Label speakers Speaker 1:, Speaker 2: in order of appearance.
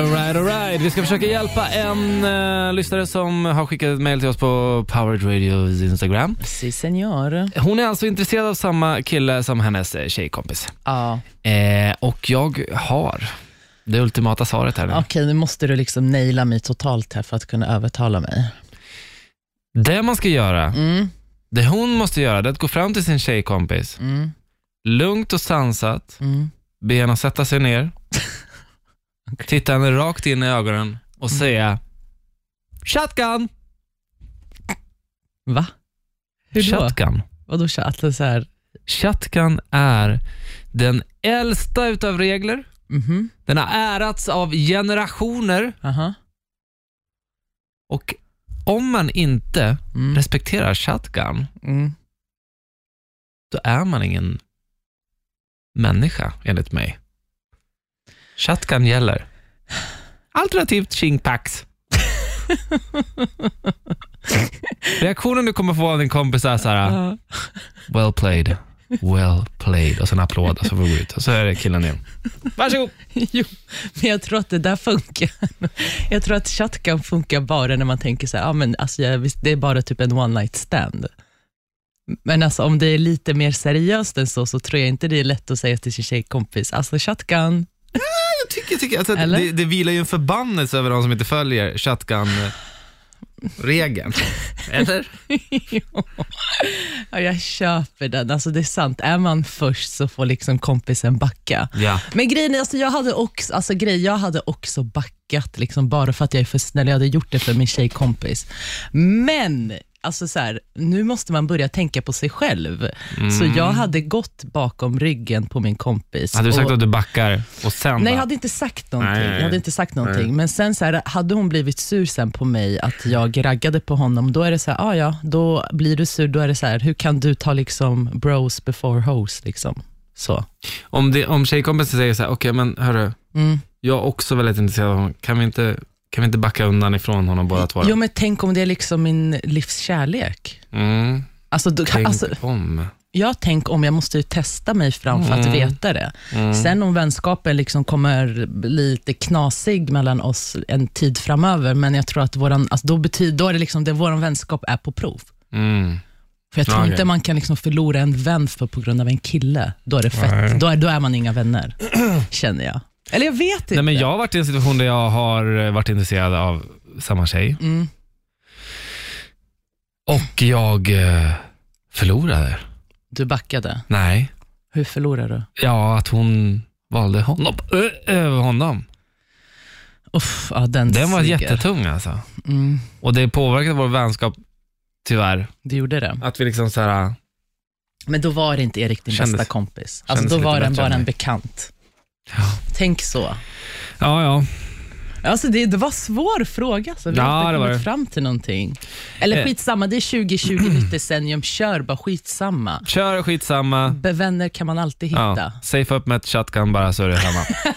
Speaker 1: Alright, alright. Vi ska försöka hjälpa en eh, lyssnare som har skickat ett mail till oss på Powered Radios Instagram.
Speaker 2: Si senor.
Speaker 1: Hon är alltså intresserad av samma kille som hennes eh, tjejkompis.
Speaker 2: Ja.
Speaker 1: Eh, och jag har det ultimata svaret här nu.
Speaker 2: Okej, nu måste du liksom naila mig totalt här för att kunna övertala mig.
Speaker 1: Det man ska göra,
Speaker 2: Mm,
Speaker 1: det hon måste göra, det är att gå fram till sin tjejkompis,
Speaker 2: mm,
Speaker 1: lugnt och sansat,
Speaker 2: mm.
Speaker 1: be henne att sätta sig ner, titta henne rakt in i ögonen och
Speaker 2: Mm.
Speaker 1: säga Shotgun!
Speaker 2: Va? Hur då?
Speaker 1: Shotgun.
Speaker 2: Vadå chatta så här?
Speaker 1: Shotgun är den äldsta utav regler.
Speaker 2: Mhm,
Speaker 1: Den har ärats av generationer
Speaker 2: aha.
Speaker 1: och om man inte
Speaker 2: Mm,
Speaker 1: respekterar shotgun,
Speaker 2: mm.
Speaker 1: då är man ingen människa enligt mig. Shotgun gäller. Alternativt chingpax. Reaktionen du kommer få av din kompis är så här,
Speaker 2: Ja.
Speaker 1: well played, well played och sen applåd och så får vi gå ut och så är det killen igen. Varsågod!
Speaker 2: Jo, men jag tror att det där funkar. Jag tror att chatt kan funka bara när man tänker så här, ah, men alltså, jag, visst, det är bara typ en one night stand. Men alltså, om det är lite mer seriöst än så, så tror jag inte det är lätt att säga till sin tjejkompis, alltså shotgun.
Speaker 1: Jag tycker, tycker alltså, att
Speaker 2: Eller?
Speaker 1: det, det vilar ju en förbannelse över de som inte följer shotgun-regeln. Eller?
Speaker 2: Jo. ja, jag köper den, alltså, det är sant. Är man först så får liksom kompisen backa.
Speaker 1: Ja.
Speaker 2: Men grejen är, alltså jag hade också, alltså grej, jag hade också backat liksom, bara för att jag är för snäll. Jag hade gjort det för min tjejkompis. Men alltså så här, nu måste man börja tänka på sig själv. Så jag hade gått bakom ryggen på min kompis.
Speaker 1: Mm. Hade du sagt
Speaker 2: och-
Speaker 1: att du backar och sen
Speaker 2: Nej, jag
Speaker 1: bara-
Speaker 2: hade inte sagt någonting.
Speaker 1: Nej.
Speaker 2: Jag hade inte sagt någonting. Men sen så här, hade hon blivit sur sen på mig, att jag raggade på honom, då är det så här, ah, ja, då blir du sur, då är det så här, hur kan du ta liksom bros before hoes? Liksom. Så.
Speaker 1: Om, det, om tjejkompisen säger så här, okej men hörru,
Speaker 2: Mm.
Speaker 1: jag är också väldigt intresserad av honom, kan vi inte, kan vi inte backa undan ifrån honom båda två? då?"
Speaker 2: Jo, men tänk om det är liksom min livs kärlek.
Speaker 1: Mm,
Speaker 2: Alltså, då,
Speaker 1: tänk
Speaker 2: alltså,
Speaker 1: om.
Speaker 2: jag tänker om jag måste ju testa mig fram för att
Speaker 1: Mm.
Speaker 2: veta det.
Speaker 1: Mm.
Speaker 2: Sen om vänskapen liksom kommer bli lite knasig mellan oss en tid framöver, men jag tror att våran, alltså, då betyder då är det liksom det vår vänskap är på prov.
Speaker 1: Mm.
Speaker 2: För jag tror
Speaker 1: Ja, okej.
Speaker 2: inte man kan liksom förlora en vän för, på grund av en kille. Då är det
Speaker 1: Nej.
Speaker 2: fett. Då är, då är man inga vänner, känner jag. Eller jag vet inte.
Speaker 1: Nej, men jag har varit i en situation där jag har eh, varit intresserad av samma tjej
Speaker 2: mm.
Speaker 1: och jag eh, förlorade.
Speaker 2: Du backade.
Speaker 1: Nej,
Speaker 2: Hur förlorade du?
Speaker 1: ja att hon valde honom ö- över honom.
Speaker 2: Uff, ja, den
Speaker 1: Den var
Speaker 2: suger.
Speaker 1: jättetung alltså.
Speaker 2: Mm,
Speaker 1: Och det påverkade vår vänskap, tyvärr.
Speaker 2: det gjorde det.
Speaker 1: Att vi liksom så här,
Speaker 2: Men då var det inte Erik din
Speaker 1: Kändes-
Speaker 2: bästa kompis. Alltså,
Speaker 1: kändes
Speaker 2: då
Speaker 1: lite
Speaker 2: var den
Speaker 1: bättre än
Speaker 2: bara en
Speaker 1: mig.
Speaker 2: bekant.
Speaker 1: ja,
Speaker 2: Tänk så.
Speaker 1: ja. ja.
Speaker 2: Alltså, det, det var svår fråga, så vi
Speaker 1: Ja,
Speaker 2: har
Speaker 1: det
Speaker 2: inte
Speaker 1: var
Speaker 2: kommit
Speaker 1: det.
Speaker 2: fram till någonting.
Speaker 1: Eh.
Speaker 2: Eller skitsamma, det är 2020, nytt decennium, kör bara skitsamma.
Speaker 1: Kör skitsamma.
Speaker 2: Bevänner kan man alltid hitta.
Speaker 1: Ja, safe upp med ett shotgun bara så är det samma.